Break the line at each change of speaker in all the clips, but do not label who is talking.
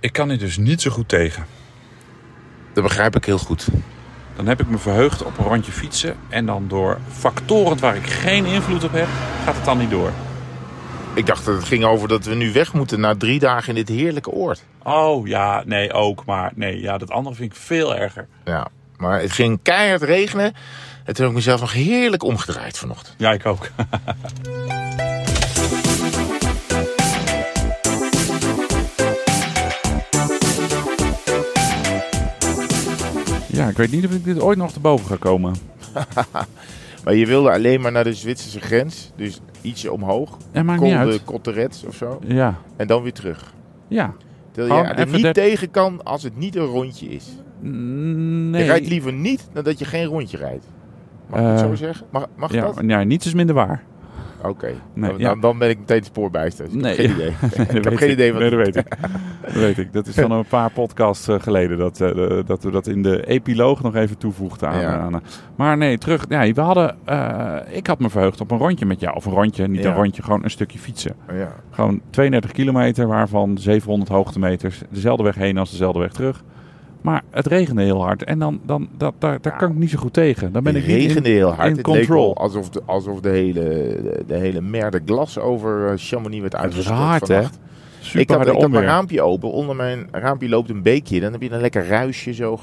Ik kan hier dus niet zo goed tegen.
Dat begrijp ik heel goed.
Dan heb ik me verheugd op een rondje fietsen. En dan door factoren waar ik geen invloed op heb, gaat het dan niet door.
Ik dacht dat het ging over dat we nu weg moeten na drie dagen in dit heerlijke oord.
Oh ja, nee, ook. Maar nee, ja, dat andere vind ik veel erger.
Ja, maar het ging keihard regenen. En toen heb ik mezelf nog heerlijk omgedraaid vanochtend.
Ja, ik ook.
Ja, ik weet niet of ik dit ooit nog te boven ga komen.
Maar je wilde alleen maar naar de Zwitserse grens. Dus ietsje omhoog.
En maakt niet
Kolde
uit.
Kotterets of zo.
Ja,
En dan weer terug.
ja.
Terwijl
Gewoon
je er
even
niet
der-
tegen kan als het niet een rondje is.
Nee.
Je rijdt liever niet dan dat je geen rondje rijdt. Mag ik het
Eh,
zo zeggen? Mag, mag
ja,
dat?
ja, niets is minder waar.
Oké.
Nee,
dan,
ja.
dan ben ik meteen spoorbijster. Dus
Nee.
nee. Geen idee. ik heb
weet
geen idee wat...
Nee, dat weet ik. Dat weet ik. Dat is van een paar podcasts eh, geleden dat, eh, de- dat we dat in de epiloog nog even toevoegden aan.
Ja.
aan- maar nee, terug. Ja, we hadden, eh, ik had me verheugd op een rondje met jou. Of een rondje, niet
Ja.
een rondje, gewoon een stukje fietsen.
Oh, Ja.
Gewoon 32 kilometer, waarvan 700 hoogtemeters. Dezelfde weg heen als dezelfde weg terug. Maar het regende heel hard. En dan, dan, dat, daar, daar kan ik niet zo goed tegen. Dan ben
het
ik niet in-
regende heel hard.
in
het leek
control.
wel alsof de, alsof de hele, de, de hele merde glas over eh, Chamonix werd
Het was
uitgestort.
hard, hè?
vannacht.
Super
Ik had,
harde
ik had mijn
onweer.
raampje open. Onder mijn raampje loopt een beekje. Dan heb je een lekker ruisje zo.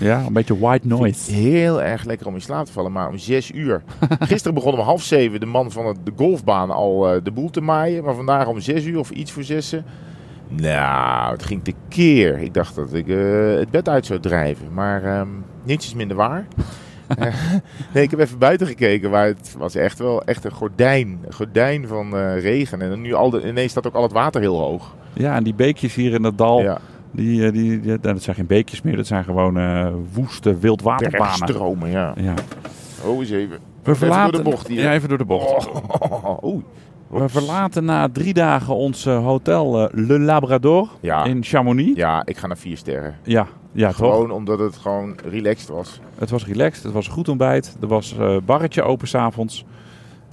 Ja, een beetje white noise.
Heel erg lekker om in slaap te vallen. Maar om zes uur. Gisteren begon om half zeven de man van het- de golfbaan al eh, de boel te maaien. Maar vandaag om zes uur of iets voor zessen. Nou, het ging tekeer. Ik dacht dat ik eh, het bed uit zou drijven. Maar ehm, niets is minder waar. Eh, nee, ik heb even buiten gekeken. Maar het was echt wel echt een gordijn. Een gordijn van eh, regen. En nu al de, ineens staat ook al het water heel hoog.
Ja, en die beekjes hier in dat dal.
Ja,
Die, eh, die, die- nou, dat zijn geen beekjes meer, dat zijn gewoon eh, woeste wildwaterbanen.
bergstromen, ja.
Ja.
Oh, eens even.
We verlaten,
door de bocht hier.
Ja, even door de bocht.
Oh, oei.
We verlaten na drie dagen ons eh, hotel eh, Le Labrador
Ja.
in Chamonix.
Ja, ik ga naar vier sterren.
Ja, ja toch?
Gewoon omdat het gewoon relaxed was.
Het was relaxed, het was een goed ontbijt. Er was een barretje open s'avonds.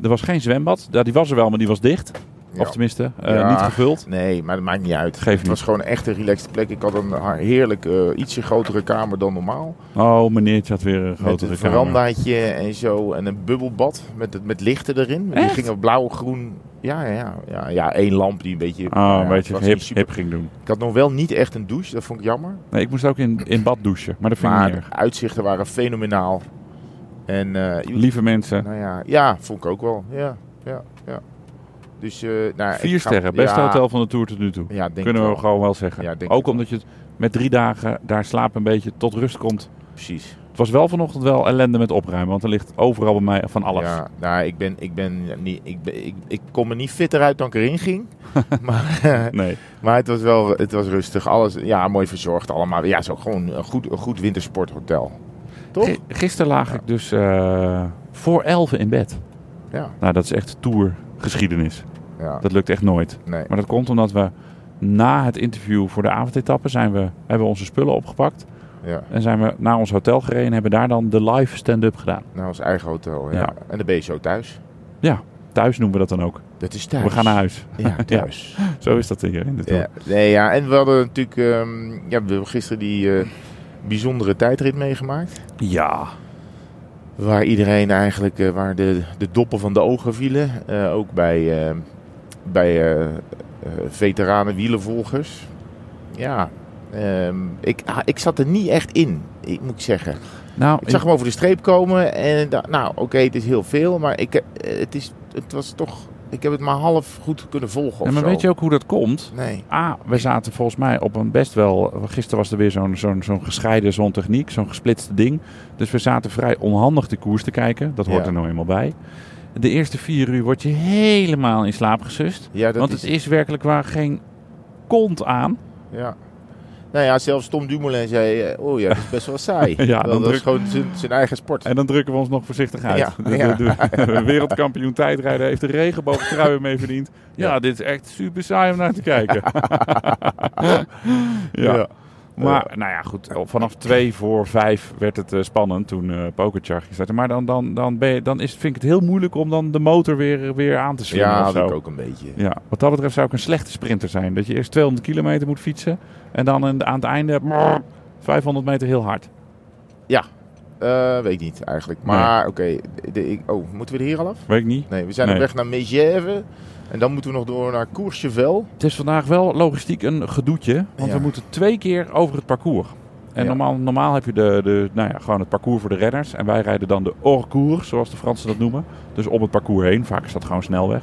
Er was geen zwembad. Ja, die was er wel, maar die was dicht.
Ja.
Of tenminste, eh,
Ja.
niet gevuld.
Nee, maar dat maakt niet uit.
Geeft
het was gewoon echt een relaxed plek. Ik had een ha- heerlijk, eh, ietsje grotere kamer dan normaal.
Oh, meneertje had weer een
met
grotere
een
kamer.
verandaatje en zo. En een bubbelbad met, met lichten erin. Die
Echt?
gingen blauw, groen. Ja, ja, ja. Ja, één lamp die een beetje...
Oh,
ja,
een beetje
het was niet
hip,
super.
hip ging doen.
Ik had nog wel niet echt een douche. Dat vond ik jammer.
Nee, ik moest ook in, in bad douchen, maar dat vind
Maar
ik niet
de uitzichten waren fenomenaal. En eh,
erg. Lieve mensen,
Nou ja, ja, vond ik ook wel. Ja, ja, ja. Dus, eh nou, ja, ik
vier
ga-
sterren. Beste
ja,
hotel van de Tour tot nu toe.
Ja, denk
Kunnen
ik
we
wel.
gewoon wel zeggen.
Ja, denk ik
ook
wel.
omdat je het met drie dagen daar slaap een beetje tot rust komt.
Precies.
Het was wel vanochtend wel ellende met opruimen, want er ligt overal bij mij van alles.
Ja, nou, ik ben, ik ben niet, ik, ben, ik, ik kom er niet fitter uit dan ik erin ging. maar,
Nee.
maar het was wel, het was rustig. Alles, ja, mooi verzorgd allemaal. Ja, zo gewoon een goed, een goed wintersporthotel. Toch?
Gi- Gisteren lag ik dus eh, voor elf in bed.
Ja,
Nou, dat is echt tourgeschiedenis.
ja.
Dat lukt echt nooit.
Nee.
Maar dat komt omdat we na het interview voor de avondetappe zijn we, hebben we onze spullen opgepakt.
Ja.
En zijn we naar ons hotel gereden en hebben daar dan de live stand-up gedaan.
Naar Nou, ons eigen hotel. Ja.
Ja.
En dan ben je zo thuis.
Ja, thuis noemen we dat dan ook.
Dat is thuis.
We gaan naar huis.
Ja, thuis.
Zo is dat hier in de tour.
Ja, nee, ja, en we hadden natuurlijk ehm, ja, we hebben gisteren die eh, bijzondere tijdrit meegemaakt.
Ja.
Waar iedereen eigenlijk, eh, waar de, de doppen van de ogen vielen. Eh, ook bij, eh, bij eh, eh, veteranen wielenvolgers. Ja, ehm, ik, ah, ik zat er niet echt in, ik moet ik zeggen.
Nou,
Ik zag hem over de streep komen en dacht, nou oké, het is heel veel. Maar ik, eh, het, is, het was toch, ik heb het maar half goed kunnen volgen of
ja, maar
zo.
weet je ook hoe dat komt?
Nee,
A, we zaten volgens mij op een best wel... Gisteren was er weer zo'n zo'n zo'n gescheiden zo'n techniek, zo'n gesplitste ding. Dus we zaten vrij onhandig de koers te kijken. Dat hoort
Ja.
er nou eenmaal bij. De eerste vier uur word je helemaal in slaap gesust.
ja, dat
want
is...
het is werkelijk waar geen kont aan.
Ja. Nou ja, zelfs Tom Dumoulin zei, eh, oh ja, dat is best wel saai.
Ja, dan
dat
druk-
is gewoon zijn- zijn eigen sport.
En dan drukken we ons nog voorzichtig uit.
Ja,
De,
ja.
de- de wereldkampioen tijdrijden heeft de regenboogtrui mee verdiend. Ja,
Ja.
dit is echt super saai om naar te kijken. ja.
Ja. Eh,
Maar nou ja, goed. Vanaf twee voor vijf werd het eh, spannend toen eh Pokerchar ging starten. Maar dan, dan, dan, ben je, dan is, het- vind ik het heel moeilijk om dan de motor weer, weer aan te slingen
Ja,
of
dat
zo.
ik ook een beetje.
Ja, wat dat betreft zou ik een slechte sprinter zijn. Dat je eerst 200 kilometer moet fietsen en dan aan aan het einde brrr, 500 meter heel hard.
Eh, weet ik niet eigenlijk. Maar oké. de- ik- Oh, moeten we er hier al af?
Weet ik niet.
Nee, we zijn
Nee.
op weg naar Megève. En dan moeten we nog door naar Courchevel.
Het is vandaag wel logistiek een gedoetje, want
Ja.
we moeten twee keer over het parcours. En
Ja.
normaal, normaal heb je de, de, nou ja, gewoon het parcours voor de renners. En wij rijden dan de hors-cours, zoals de Fransen dat noemen. Dus om het parcours heen. Vaak is dat gewoon snelweg.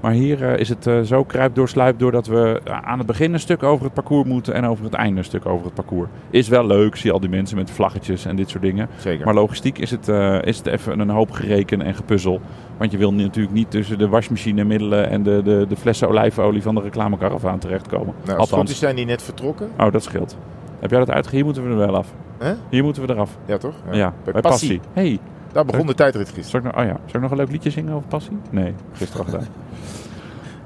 Maar hier eh, is het eh, zo kruip door sluip doordat we eh, aan het begin een stuk over het parcours moeten. En over het einde een stuk over het parcours. Is wel leuk, zie je al die mensen met vlaggetjes en dit soort dingen.
Zeker.
Maar logistiek is het, eh, is het even een hoop gereken en gepuzzel. Want je wil ni- natuurlijk niet tussen de wasmachinemiddelen en de, de, de flessen olijfolie van de reclamekaravaan terechtkomen.
nou, als het goed
Althans,
is zijn die net vertrokken.
oh, dat scheelt. Heb jij dat uitge... Hier moeten we er wel af.
Hè?
Hier moeten we eraf.
Ja, toch?
Ja,
Bij
bij
Passy.
Passie. Hey,
Daar begon de tijdrit gisteren.
zal ik, nou, oh ja, zal ik nog een leuk liedje zingen over Passie? Nee, gisteren al gedaan.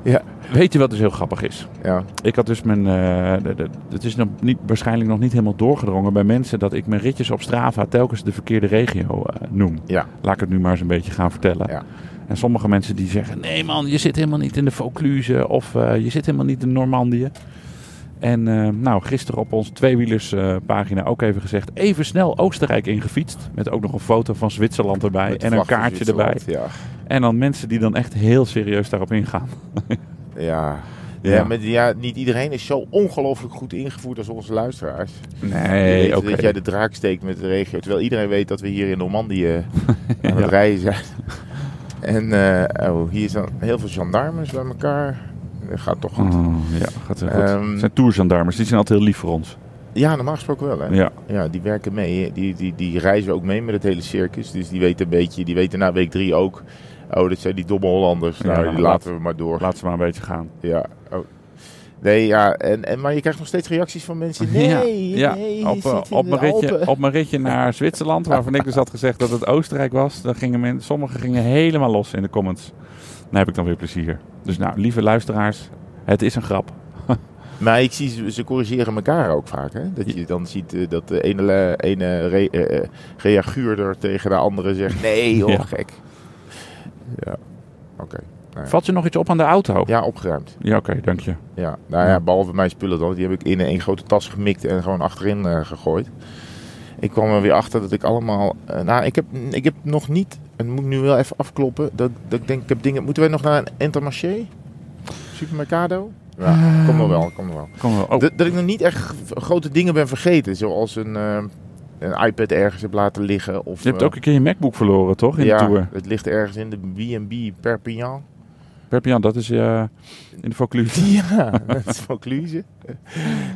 Ja.
Weet je wat dus heel grappig is?
Ja.
Ik had dus mijn. eh, de- de- het is nog niet, waarschijnlijk nog niet helemaal doorgedrongen bij mensen dat ik mijn ritjes op Strava telkens de verkeerde regio eh, noem.
Ja.
Laat ik het nu maar eens een beetje gaan vertellen.
Ja.
En sommige mensen die zeggen: nee man, je zit helemaal niet in de Vaucluse of eh, je zit helemaal niet in Normandië. En eh, nou, gisteren op onze tweewielerspagina pagina ook even gezegd: even snel Oostenrijk ingefietst. Met ook nog een foto van Zwitserland erbij
Met de
en een
vlag van
kaartje erbij.
Zwitserland, Ja.
En dan mensen die dan echt heel serieus daarop ingaan.
Ja. Ja. maar ja, niet iedereen is zo ongelooflijk goed ingevoerd als onze luisteraars. Die
nee,
weten
oké.
Dat jij de draak steekt met de regio. Terwijl iedereen weet dat we hier in Normandië aan het
Ja.
rijden zijn. En eh, oh, hier zijn heel veel gendarmes bij elkaar. Dat gaat toch goed.
Oh, ja, gaat heel goed.
Ehm,
het zijn tourgendarmes, die zijn altijd heel lief voor ons.
Ja, normaal gesproken wel. Hè?
Ja.
Ja, die werken mee. Die, die, die reizen ook mee met het hele circus. Dus die weten een beetje, die weten na week drie ook. Oh, dat zijn die domme Hollanders.
Ja,
nou,
laat-
die laten we maar door.
Laat ze maar een beetje gaan.
Ja. Oh. Nee, ja. En, en, maar je krijgt nog steeds reacties van mensen. Nee,
ja,
nee. je
ja. Op,
zit
eh,
in
op, mijn
de
ritje,
Alpen.
op mijn ritje naar Zwitserland, waarvan ik dus had gezegd dat het Oostenrijk was, dan gingen men, sommigen gingen helemaal los in de comments. Daar heb ik dan weer plezier. Dus nou, lieve luisteraars, het is een grap.
Maar ik zie, ze- ze corrigeren elkaar ook vaak. Hè? Dat je dan ziet eh, dat de ene, le- ene re, eh, eh, reaguurder tegen de andere zegt... Nee, joh,
Ja.
gek. Ja, oké. Ja.
Valt je nog iets op aan de auto?
Ja, opgeruimd.
Ja, oké, dank je.
Ja. Nou ja, behalve mijn spullen dan. Die heb ik in één grote tas gemikt en gewoon achterin eh, gegooid. Ik kwam er weer achter dat ik allemaal... eh, nou, ik heb, ik heb nog niet... En moet ik nu wel even afkloppen. Dat, dat ik denk, ik heb dingen... Moeten wij nog naar een Intermarché? Supermercado? Ja, kom er wel, kom er wel.
Kom wel. Oh,
Dat, dat ik nog niet echt g- grote dingen ben vergeten. Zoals een, eh, een iPad ergens heb laten liggen. Of,
je hebt
eh,
ook een keer je MacBook verloren, toch? In de
ja,
tour.
het ligt ergens in de B&B Perpignan.
Perpignan, dat is eh, in de Vaucluse.
Ja, dat is Vaucluse.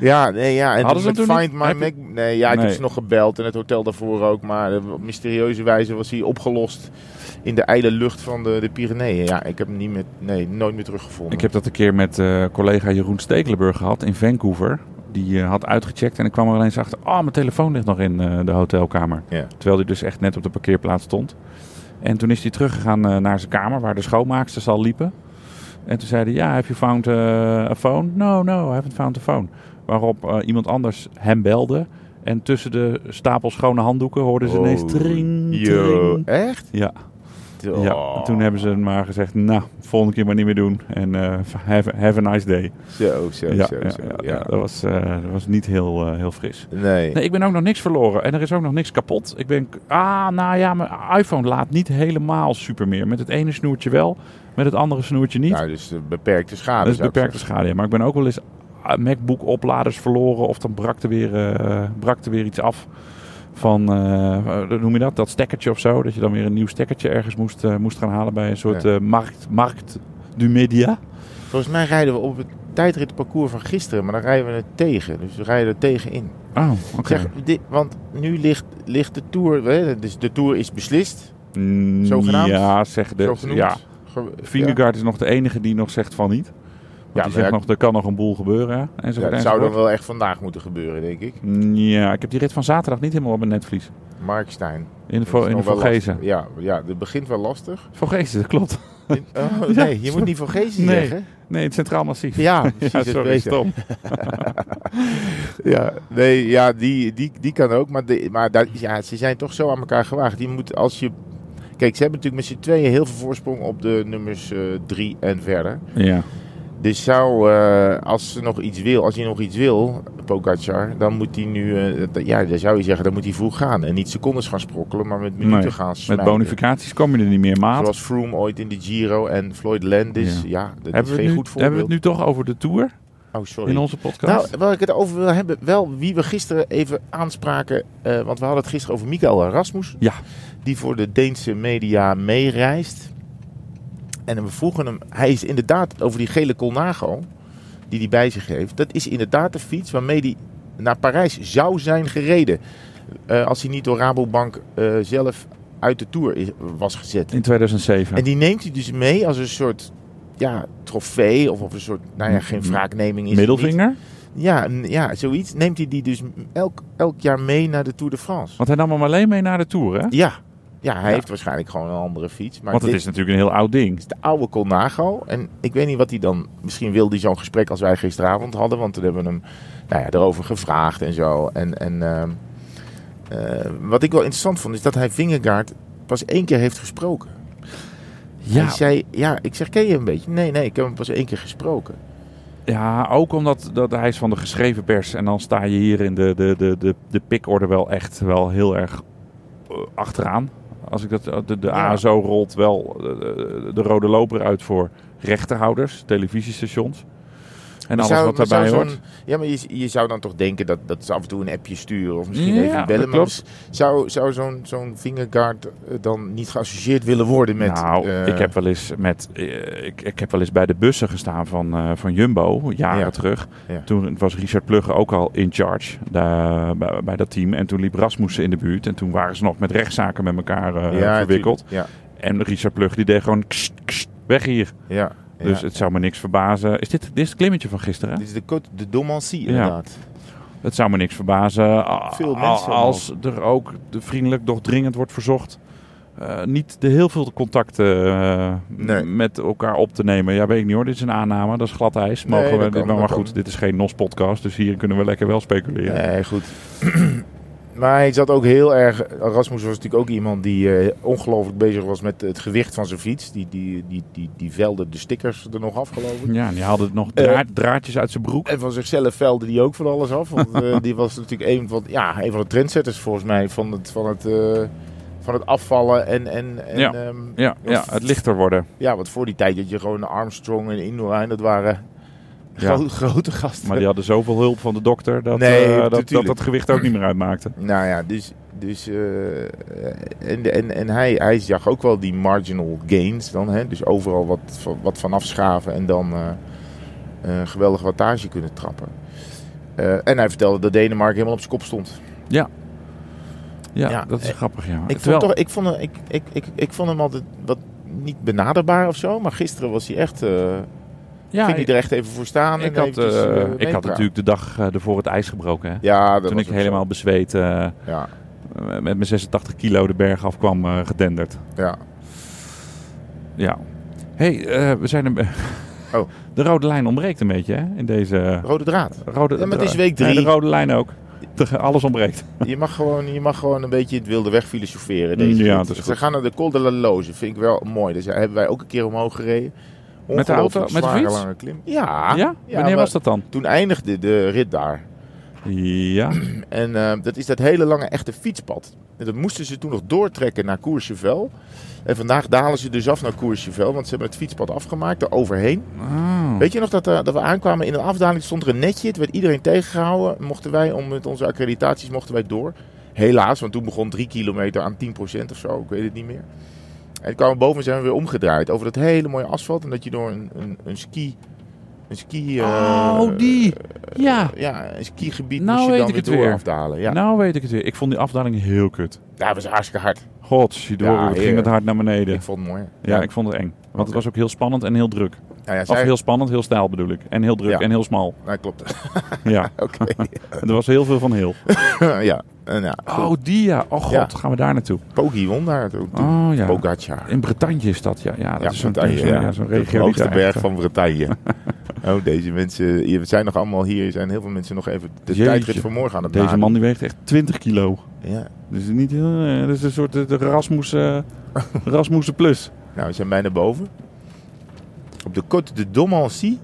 Ja, nee, ja. En
Hadden ze
toen
hem
met
toen
Find
niet?
My
Heb je-
Mac... Nee, ja, ik
Nee.
heb ze nog gebeld en het hotel daarvoor ook. Maar eh, op mysterieuze wijze was hij opgelost in de ijle lucht van de, de Pyreneeën. Ja, ik heb hem niet meer, nee, nooit meer teruggevonden.
Ik heb dat een keer met eh, collega Jeroen Stekelenburg gehad in Vancouver. Die eh, had uitgecheckt en ik kwam er ineens achter... Oh, mijn telefoon ligt nog in eh, de hotelkamer.
Ja.
Terwijl hij dus echt net op de parkeerplaats stond. En toen is hij teruggegaan eh, naar zijn kamer waar de schoonmaaksters al liepen. En toen zei hij, ja, have you found eh, a phone? No, no, I haven't found a phone. Waarop eh, iemand anders hem belde. En tussen de stapel schone handdoeken hoorden ze dus ineens...
Oh,
Tring,
Yo,
tring.
Echt?
Ja, ja,
Oh,
en toen hebben ze maar gezegd, nou, volgende keer maar niet meer doen. En eh, have, have a nice day.
Zo, zo,
Ja,
zo,
ja,
zo.
ja,
Ja,
ja, Dat, was, eh, dat was niet heel, eh, heel fris.
Nee.
Nee, ik ben ook nog niks verloren en er is ook nog niks kapot. Ik ben, ah, nou ja, mijn iPhone laat niet helemaal super meer. Met het ene snoertje wel, met het andere snoertje niet.
Nou, dus eh, beperkte schade.
dat is
zou ik
beperkte schade, ja. Maar ik ben ook wel eens ah, MacBook-opladers verloren of dan brak er weer, eh, brak er weer iets af. Van, eh, eh, noem je dat? Dat stekkertje of zo. Dat je dan weer een nieuw stekkertje ergens moest, eh, moest gaan halen bij een soort
Ja.
eh, markt, markt du media.
zeggen. Volgens mij rijden we op het tijdritparcours van gisteren, maar dan rijden we het tegen. Dus we rijden er tegenin.
Oh, oké.
Zeg, dit, want nu ligt, ligt de Tour... Hè, dus de Tour is beslist,
Mm,
Zogenaamd?
Ja, zeg de,
zo genoemd.
ja.
Ge-
Vingegaard is nog de enige die nog zegt van niet.
Ja,
Ja, die
maar
zegt
ja,
nog, er kan nog een boel gebeuren. En
ja,
zo
het
ja,
zou dan wel echt vandaag moeten gebeuren, denk ik.
Mm, ja, ik heb die rit van zaterdag niet helemaal op mijn netvlies.
Mark Stein.
In de,
Dat is
vo- in de
nog wel
Vogezen.
lastig. Ja, ja, dat begint wel lastig.
Vogezen, dat klopt.
In- oh,
Ja,
nee, je moet niet Vogezen
Nee.
zeggen.
Nee, het Centraal Massief.
Ja, precies.
Ja,
dat
sorry,
weet ik.
stom.
ja, nee, ja, die, die, die kan ook. Maar, de, maar daar, ja, ze zijn toch zo aan elkaar gewaagd. Je moet als je. Kijk, ze hebben natuurlijk met z'n tweeën heel veel voorsprong op de nummers eh, drie en verder.
Ja.
Dus zou, eh, als ze nog iets wil, als hij nog iets wil, Pogacar, dan moet hij nu, eh, dat- ja, dan zou je zeggen, dan moet hij vroeg gaan. En niet secondes gaan sprokkelen, maar met minuten
Nee,
gaan smijten.
Met bonificaties kom je er niet meer, maat.
Zoals Froome ooit in de Giro en Floyd Landis. Ja, dat
hebben,
is
we
geen
het nu,
goed voorbeeld.
hebben we het nu toch over de Tour
Oh, sorry.
in onze podcast?
Nou, waar ik het over wil hebben, wel wie we gisteren even aanspraken. eh, want we hadden het gisteren over Mikael Rasmus.
Ja.
Die voor de Deense media meereist. En we vroegen hem, hij is inderdaad over die gele Colnago. die hij bij zich heeft. Dat is inderdaad de fiets waarmee hij naar Parijs zou zijn gereden. eh, als hij niet door Rabobank eh, zelf uit de tour is- was gezet.
in 2007.
En die neemt hij dus mee als een soort ja, trofee. Of, of een soort, nou ja, geen wraakneming is. het niet.
Middelvinger?
Ja, n- ja, zoiets. Neemt hij die dus elk, elk jaar mee naar de Tour de France?
Want hij nam hem alleen mee naar de Tour, hè?
Ja, ja hij
Ja.
heeft waarschijnlijk gewoon een andere fiets. Maar
Want het
dit
is natuurlijk een heel oud ding.
is de oude Colnago. En ik weet niet wat hij dan... Misschien wilde hij zo'n gesprek als wij gisteravond hadden. Want toen hebben we hem nou ja, erover gevraagd en zo. En, en ehm, eh, wat ik wel interessant vond, is dat hij Vingegaard pas één keer heeft gesproken. Hij
Ja,
zei, ja, ik zeg, ken je hem een beetje? Nee, nee, ik heb hem pas één keer gesproken.
ja ook omdat dat hij is van de geschreven pers. En dan sta je hier in de, de, de, de, de pikorde wel echt wel heel erg eh, achteraan. Als ik dat, de, de
Ja.
ASO rolt wel eh, de, de rode loper uit voor rechterhouders, televisiestations. En alles wat
maar
daarbij
zou
hoort.
zo'n- Ja, maar je, je zou dan toch denken dat, dat ze af en toe een appje sturen of misschien
Ja,
even
dat
bellen. Maar
klopt.
zou, zou zo'n zo'n vingerkaart eh, dan niet geassocieerd willen worden met...
nou,
eh,
ik heb wel eens met, eh, ik, ik heb wel eens bij de bussen gestaan van, eh, van Jumbo, jaren
Ja.
terug.
Ja.
Toen was Richard Plugge ook al in charge daar, bij, bij dat team. En toen liep Rasmussen in de buurt. En toen waren ze nog met rechtszaken met elkaar eh, verwikkeld.
tuurlijk.
En Richard Plugge die deed gewoon kst, kst, weg hier.
Ja, ja.
Dus
ja.
het zou me niks verbazen. Is dit, dit is het klimmetje van gisteren? hè?
Dit is de, Côte de Domancy inderdaad.
Het zou me niks verbazen a-
Veel
a-
mensen
als er ook de vriendelijk, doch dringend wordt verzocht. eh, niet de heel veel contacten eh,
Nee.
m- met elkaar op te nemen. Ja, weet ik niet hoor. Dit is een aanname. Dat is glad ijs.
Nee,
Mogen we,
dat
dit-
kan,
maar
dat
goed,
kan.
dit is geen NOS-podcast. Dus hier kunnen we lekker wel speculeren.
Nee, goed. maar hij zat ook heel erg... Rasmus was natuurlijk ook iemand die eh, ongelooflijk bezig was met het gewicht van zijn fiets. Die, die, die, die, die velde de stickers er nog af, geloof ik.
Ja, en die haalde nog
Eh.
draad- draadjes uit zijn broek.
En van zichzelf velde die ook van alles af. Want eh, die was natuurlijk een van, ja, een van de trendsetters volgens mij van het, van het, eh, van het afvallen. En, en, en,
Ja.
ehm,
Ja, ja, het lichter worden.
ja, want voor die tijd dat je gewoon Armstrong en Indoorijn, dat waren
Ja.
gro- grote gasten.
Maar die hadden zoveel hulp van de dokter dat
Nee,
eh, dat, dat
natuurlijk.
dat gewicht ook niet meer uitmaakte.
Nou ja, dus, dus eh, en, en, en hij, hij zag ook wel die marginal gains dan. Hè? Dus overal wat, wat van afschaven en dan eh, eh, geweldig wattage kunnen trappen. Eh, en hij vertelde dat Denemarken helemaal op zijn kop stond.
Ja,
Ja,
dat is
eh,
grappig. Ja.
Ik
Terwijl-
vond, toch, ik, vond hem, ik, ik, ik, ik vond hem altijd wat niet benaderbaar of zo. Maar gisteren was hij echt. eh
ja,
ging hij er echt even voor staan.
ik
en
had,
eventjes,
eh,
eh,
ik had
meepraten.
natuurlijk de dag eh, ervoor het ijs gebroken. Hè?
Ja, dat
Toen
was
ik
ook zo.
helemaal bezweet eh,
Ja,
met mijn 86 kilo de berg afkwam eh, gedenderd.
ja.
Ja. hey, eh, we zijn een...
Oh.
De rode lijn ontbreekt een beetje hè? in deze...
Rode draad.
Rode, eh,
Ja, maar het is week
Nee,
drie.
de rode lijn ook. Te- Alles ontbreekt.
Je mag, gewoon, je mag gewoon een beetje het wilde weg filosoferen. Deze
Mm, Ja,
rit.
dat is
Ze
goed.
gaan naar de Col de la Loze. Vind ik wel mooi. Dus hebben wij ook een keer omhoog gereden.
Met de auto?
Ongelooflijk
Met de
zware,
fiets?
lange klim. Ah. Ja.
ja? Wanneer
maar-
was dat dan?
Toen eindigde de rit daar.
Ja.
En eh, dat is dat hele lange echte fietspad. En dat moesten ze toen nog doortrekken naar Courchevel. En vandaag dalen ze dus af naar Courchevel, want ze hebben het fietspad afgemaakt, er overheen.
Oh.
Weet je nog dat, eh, dat we aankwamen in een afdaling, stond er een netje, het werd iedereen tegengehouden. Mochten wij, om met onze accreditaties, mochten wij door. Helaas, want toen begon drie kilometer aan 10% of zo, ik weet het niet meer. En toen kwamen we boven en zijn we weer omgedraaid over dat hele mooie asfalt. En dat je door een, een, een ski... Een ski... eh,
Oh, die. Ja.
Ja, een skigebied
Nou
moest je
weet
dan
ik
weer
het
door
weer.
afdalen. Ja.
Nou weet ik het weer. Ik vond die afdaling heel kut.
Ja, dat was hartstikke hard.
Godzijdank,
Ja,
het ging
heerlijk.
het hard naar beneden.
Ik vond het mooi.
Ja, ik vond het eng. Want het was ook heel spannend en heel druk.
Nou ja,
Of
zij-
heel spannend, heel stijl bedoel ik. En heel druk
Ja.
en heel smal.
Nou, klopt.
Ja,
Oké.
er was heel veel van heel.
ja. En ja,
Oh, die ja. Oh god,
Ja.
gaan we daar naartoe?
Pogi won daar toen.
Oh ja.
Pogacar.
In Bretagne is dat, ja. Ja, dat
Ja,
is zo'n
Bretagne,
zo'n-
ja.
ja, zo'n
De
regio. die
hoogste
daar
berg
echt, eh,
van Bretagne. Oh, deze mensen, hier we zijn nog allemaal hier. Er zijn heel veel mensen nog even de
Jeetje.
tijdrit van morgen aan
eh,
het
Deze
nadoen.
man die weegt echt 20 kilo.
Ja.
Dus niet heel... eh, dat is een soort eh, de Rasmus, eh, Rasmussen plus.
Nou, we zijn bijna boven. Op de Côte de Domancy.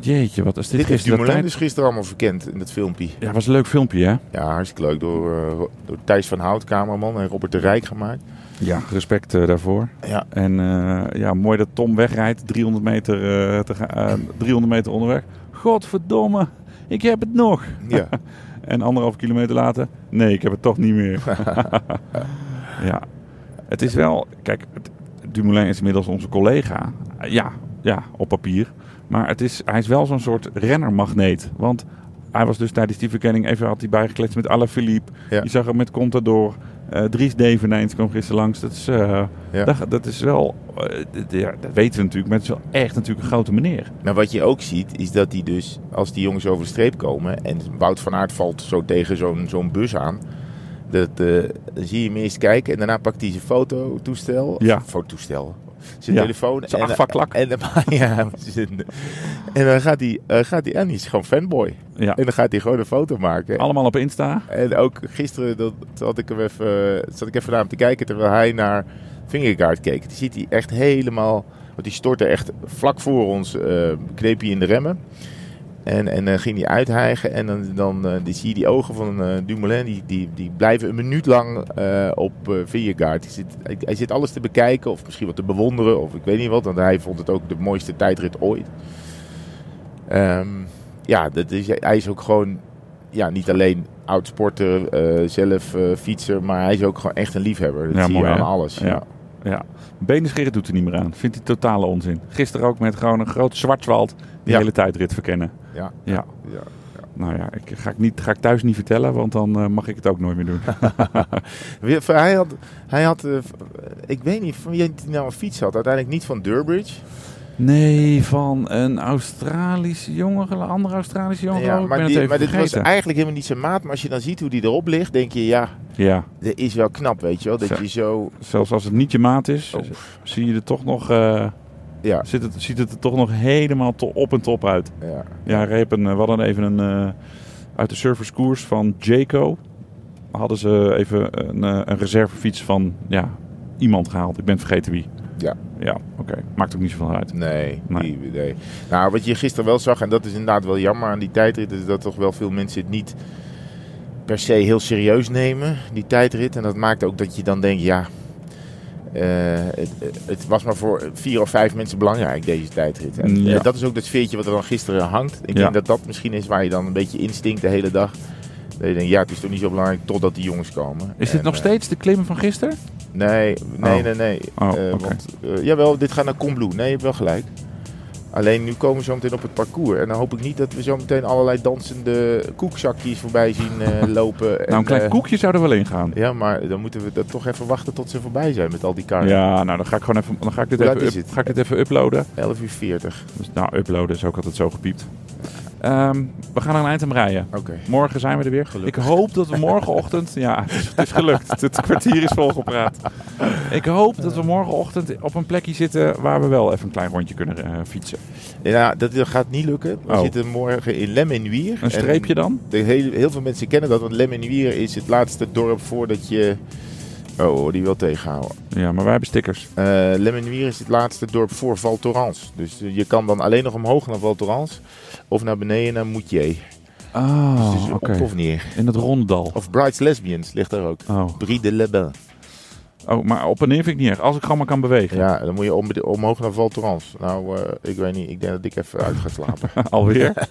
Jeetje, wat is dit,
Dit is
gisteren
Dumoulin
tijd?
dus gisteren allemaal verkend in dat filmpje.
Ja, was een leuk filmpje, hè?
Ja, hartstikke leuk. Door, eh, door Thijs van Hout, cameraman, en Robert de Rijk gemaakt.
Ja. Respect eh, daarvoor.
Ja.
En eh, ja, mooi dat Tom wegrijdt, 300 meter, eh, te ga- eh, 300 meter onderweg. Godverdomme, ik heb het nog.
Ja.
En anderhalf kilometer later, nee, ik heb het toch niet meer. ja, het is wel, kijk, het- Dumoulin is inmiddels onze collega. Eh, Ja, ja, op papier. Maar het is, hij is wel zo'n soort rennermagneet. Want hij was dus tijdens die verkenning even had hij bijgekletst met Alaphilippe.
Ja.
Je zag hem met Contador. Eh Dries Devenijns kwam gisteren langs. Dat is, eh,
Ja.
dat, dat is wel, eh, d- ja, dat weten we natuurlijk, maar het is wel echt natuurlijk een grote meneer.
Maar wat je ook ziet, is dat die dus, als die jongens over de streep komen... en Wout van Aert valt zo tegen zo'n zo'n bus aan... Dat, eh, dan zie je hem eerst kijken en daarna pakt hij zijn fototoestel.
Ja.
Of Fototoestel. Zijn
Ja,
telefoon.
zijn
en-
afvaklak.
En, ja, zijn- en dan gaat hij, eh, gaat hij... En die is gewoon fanboy.
Ja.
En dan gaat hij gewoon een foto maken.
Allemaal op Insta.
En ook gisteren dat, zat, ik hem even, zat ik even naar hem te kijken terwijl hij naar Fingergaard keek. Die ziet hij echt helemaal. Want die stortte echt vlak voor ons, eh kneep hij in de remmen. En, en eh, ging hij uithijgen. En dan, dan eh, die zie je die ogen van eh, Dumoulin. Die, die, die blijven een minuut lang eh, op eh Vingegaard. Hij zit, hij, hij zit alles te bekijken. Of misschien wat te bewonderen. Of ik weet niet wat. Want hij vond het ook de mooiste tijdrit ooit. Ehm, ja, dat is, hij is ook gewoon ja, niet alleen oud sporter, eh, zelf eh, fietser, maar hij is ook gewoon echt een liefhebber. Dat
Ja,
zie
mooi,
je aan
hè?
alles. Ja.
Ja. Ja, benenscheren doet er niet meer aan. Vindt hij totale onzin. Gisteren ook met gewoon een groot zwartswald die
Ja.
hele tijdrit verkennen.
Ja.
Ja,
Ja.
nou ja, ik ga, ik niet, ga ik thuis niet vertellen, want dan eh, mag ik het ook nooit meer doen.
Weer- voor- Hij had, hij had eh, v- ik weet niet van wie hij nou een fiets had, uiteindelijk niet van Durbridge.
Nee, van een Australische jongen, een andere Australische jongen. geloof ik. ik
maar
ben
die,
het
maar
even
dit was
vergeten.
eigenlijk helemaal niet zijn maat, maar als je dan ziet hoe die erop ligt, denk je ja,
Ja,
dat is wel knap, weet je wel. Dat
Zo.
je zo,
zelfs als het niet je maat is,
Oh.
zie je er toch nog, eh,
ja,
zit het, ziet het er toch nog helemaal to- op en top uit.
ja.
Ja, Repen, eh, we hadden even een. eh, uit de servicekoers van Jaco. hadden ze even een, eh, een reservefiets van ja, iemand gehaald. Ik ben vergeten wie.
Ja.
Ja, oké. Maakt ook niet zoveel uit.
Nee,
Nee.
die- nee. Nou, wat je gisteren wel zag, en dat is inderdaad wel jammer aan die tijdrit, is dat toch wel veel mensen het niet per se heel serieus nemen, die tijdrit. En dat maakt ook dat je dan denkt, ja, eh, het, het was maar voor vier of vijf mensen belangrijk, deze tijdrit. En
Ja.
eh, dat is ook dat sfeertje wat er dan gisteren hangt. Ik
Ja.
denk dat dat misschien is waar je dan een beetje instinkt de hele dag. Dat je denkt, ja, het is toch niet zo belangrijk totdat die jongens komen.
Is dit
En,
nog
eh,
steeds de klim van gisteren?
Nee, nee,
Oh.
nee, nee.
Oh,
Eh,
oké.
want, eh, jawel, dit gaat naar Combloe. Nee, je hebt wel gelijk. Alleen nu komen we zo meteen op het parcours. En dan hoop ik niet dat we zo meteen allerlei dansende koekzakjes voorbij zien eh, lopen. en,
nou, een klein
eh,
koekje zou er wel in gaan.
Ja, maar dan moeten we dat toch even wachten tot ze voorbij zijn met al die
Ja,
kaarten.
nou dan ga ik gewoon even. Dan ga ik dit,
Hoe
even,
laat is
up-
het?
ga ik dit even uploaden.
11 uur 40.
Dus, nou, uploaden is ook altijd zo gepiept. Ehm, we gaan aan een item rijden.
Oké.
Morgen zijn we er weer. Ik hoop dat we morgenochtend... Ja, het is, het is gelukt. Het kwartier is volgepraat. Ik hoop dat we morgenochtend op een plekje zitten... waar we wel even een klein rondje kunnen eh, fietsen.
Ja, dat dat gaat niet lukken. We
Oh.
zitten morgen in Lemmenuier.
Een streepje dan?
De heel, heel veel mensen kennen dat, want Lemmenuier is het laatste dorp voordat je... Oh, die wil tegenhouden.
Ja, maar wij hebben stickers.
Eh Lemmenuier is het laatste dorp voor Val Thorens. Dus eh, je kan dan alleen nog omhoog naar Val Thorens of naar beneden naar Moutier.
Oh,
dus
oké.
op of neer.
In het rondedal.
Of Brides Lesbians ligt daar ook.
Oh.
Brie de Lebel.
oh, maar op en neer vind ik niet erg. Als ik gewoon maar kan bewegen.
Ja, dan moet je om- omhoog naar Val Thorens. Nou, eh, ik weet niet. Ik denk dat ik even uit ga slapen.
Alweer.